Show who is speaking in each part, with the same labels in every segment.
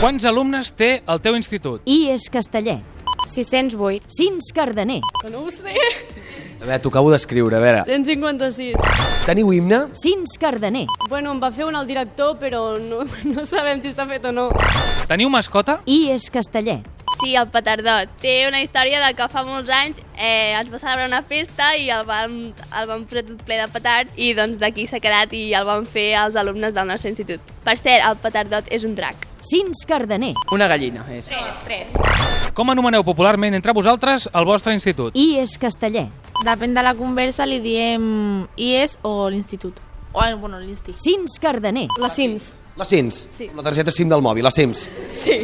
Speaker 1: Quants alumnes té el teu institut?
Speaker 2: I és Castellet.
Speaker 3: 608.
Speaker 2: Cins Cardener.
Speaker 4: Que no ho sé.
Speaker 5: A veure, t'ho acabo d'escriure, a veure.
Speaker 4: 156.
Speaker 5: Teniu himne?
Speaker 2: Cins Cardener.
Speaker 4: Bueno, em va fer un al director, però no, no sabem si està fet o no.
Speaker 1: Teniu mascota?
Speaker 2: I és Castellet.
Speaker 6: Sí, el petardot. Té una història de que fa molts anys eh, ens va celebrar una festa i el van, el van fer tot ple de petards i doncs d'aquí s'ha quedat i el van fer els alumnes del nostre institut. Per cert, el petardot és un drac.
Speaker 2: Cins Cardener.
Speaker 7: Una gallina, és.
Speaker 1: Com anomeneu popularment entre vosaltres el vostre institut?
Speaker 2: I és Castellet.
Speaker 3: Depèn de la conversa, li diem IES o l'institut. O, bueno, l'insti.
Speaker 2: Cins Cardener.
Speaker 4: Les Sims.
Speaker 5: La Sims. Sí. La targeta SIM del mòbil, la Sims.
Speaker 4: Sí.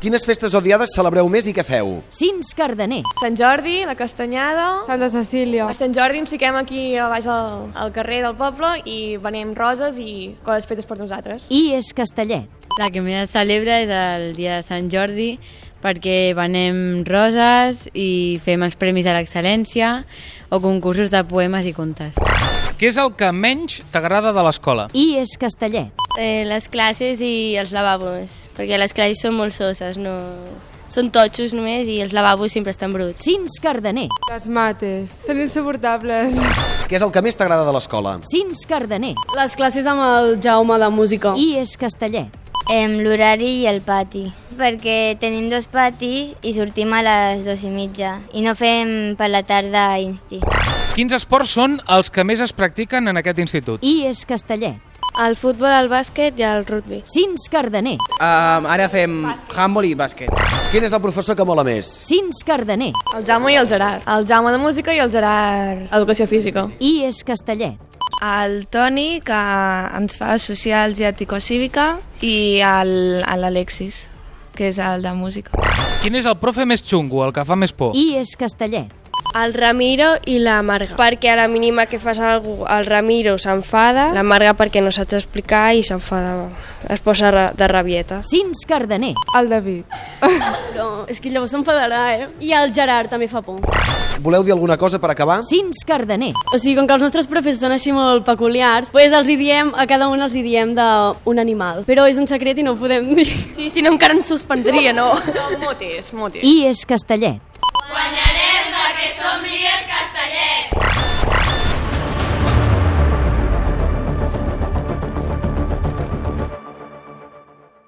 Speaker 5: Quines festes odiades celebreu més i què feu?
Speaker 2: Cins Cardener.
Speaker 8: Sant Jordi, la castanyada... Santa Cecília. A Sant Jordi ens fiquem aquí a baix al, al carrer del poble i venem roses i coses fetes per nosaltres.
Speaker 2: I és Castellet.
Speaker 9: La que més es celebra és el dia de Sant Jordi perquè venem roses i fem els premis a l'excel·lència o concursos de poemes i contes.
Speaker 1: Què és el que menys t'agrada de l'escola?
Speaker 2: I és Castellet.
Speaker 3: Eh, les classes i els lavabos, perquè les classes són molt soses, no... Són totxos només i els lavabos sempre estan bruts.
Speaker 2: Cins Cardener.
Speaker 8: Les mates. Són insuportables.
Speaker 5: Què és el que més t'agrada de l'escola?
Speaker 2: Cins Cardener.
Speaker 4: Les classes amb el Jaume de música.
Speaker 2: I és Castellet.
Speaker 6: Em, L'horari i el pati, perquè tenim dos patis i sortim a les dos i mitja i no fem per la tarda insti.
Speaker 1: Quins esports són els que més es practiquen en aquest institut?
Speaker 2: I és Castellet.
Speaker 3: El futbol, el bàsquet i el rugby.
Speaker 2: Cins Cardener.
Speaker 7: Um, ara fem handball i bàsquet.
Speaker 5: Quin és el professor que mola més?
Speaker 2: Cins Cardener.
Speaker 8: El Jaume i el Gerard. El Jaume de música i el Gerard... Educació física.
Speaker 2: I és Castellet.
Speaker 3: El Toni, que ens fa socials i eticocívica, i l'Alexis, que és el de música.
Speaker 1: Quin és el profe més xungo, el que fa més por?
Speaker 2: I és Castellet.
Speaker 3: El Ramiro i la Marga, perquè a la mínima que fas algú, el Ramiro s'enfada, la Marga perquè no saps explicar i s'enfada, es posa ra- de rabieta.
Speaker 2: Cins Cardener.
Speaker 8: El David.
Speaker 4: No, és que llavors s'enfadarà, eh? I el Gerard també fa por.
Speaker 5: Voleu dir alguna cosa per acabar?
Speaker 2: Cins Cardener.
Speaker 4: O sigui, com que els nostres profes són així molt peculiars, doncs els hi diem, a cada un els hi diem d'un animal. Però és un secret i no ho podem dir.
Speaker 8: Sí, si no encara ens suspendria, no? Motes, motes.
Speaker 2: I és Castellet.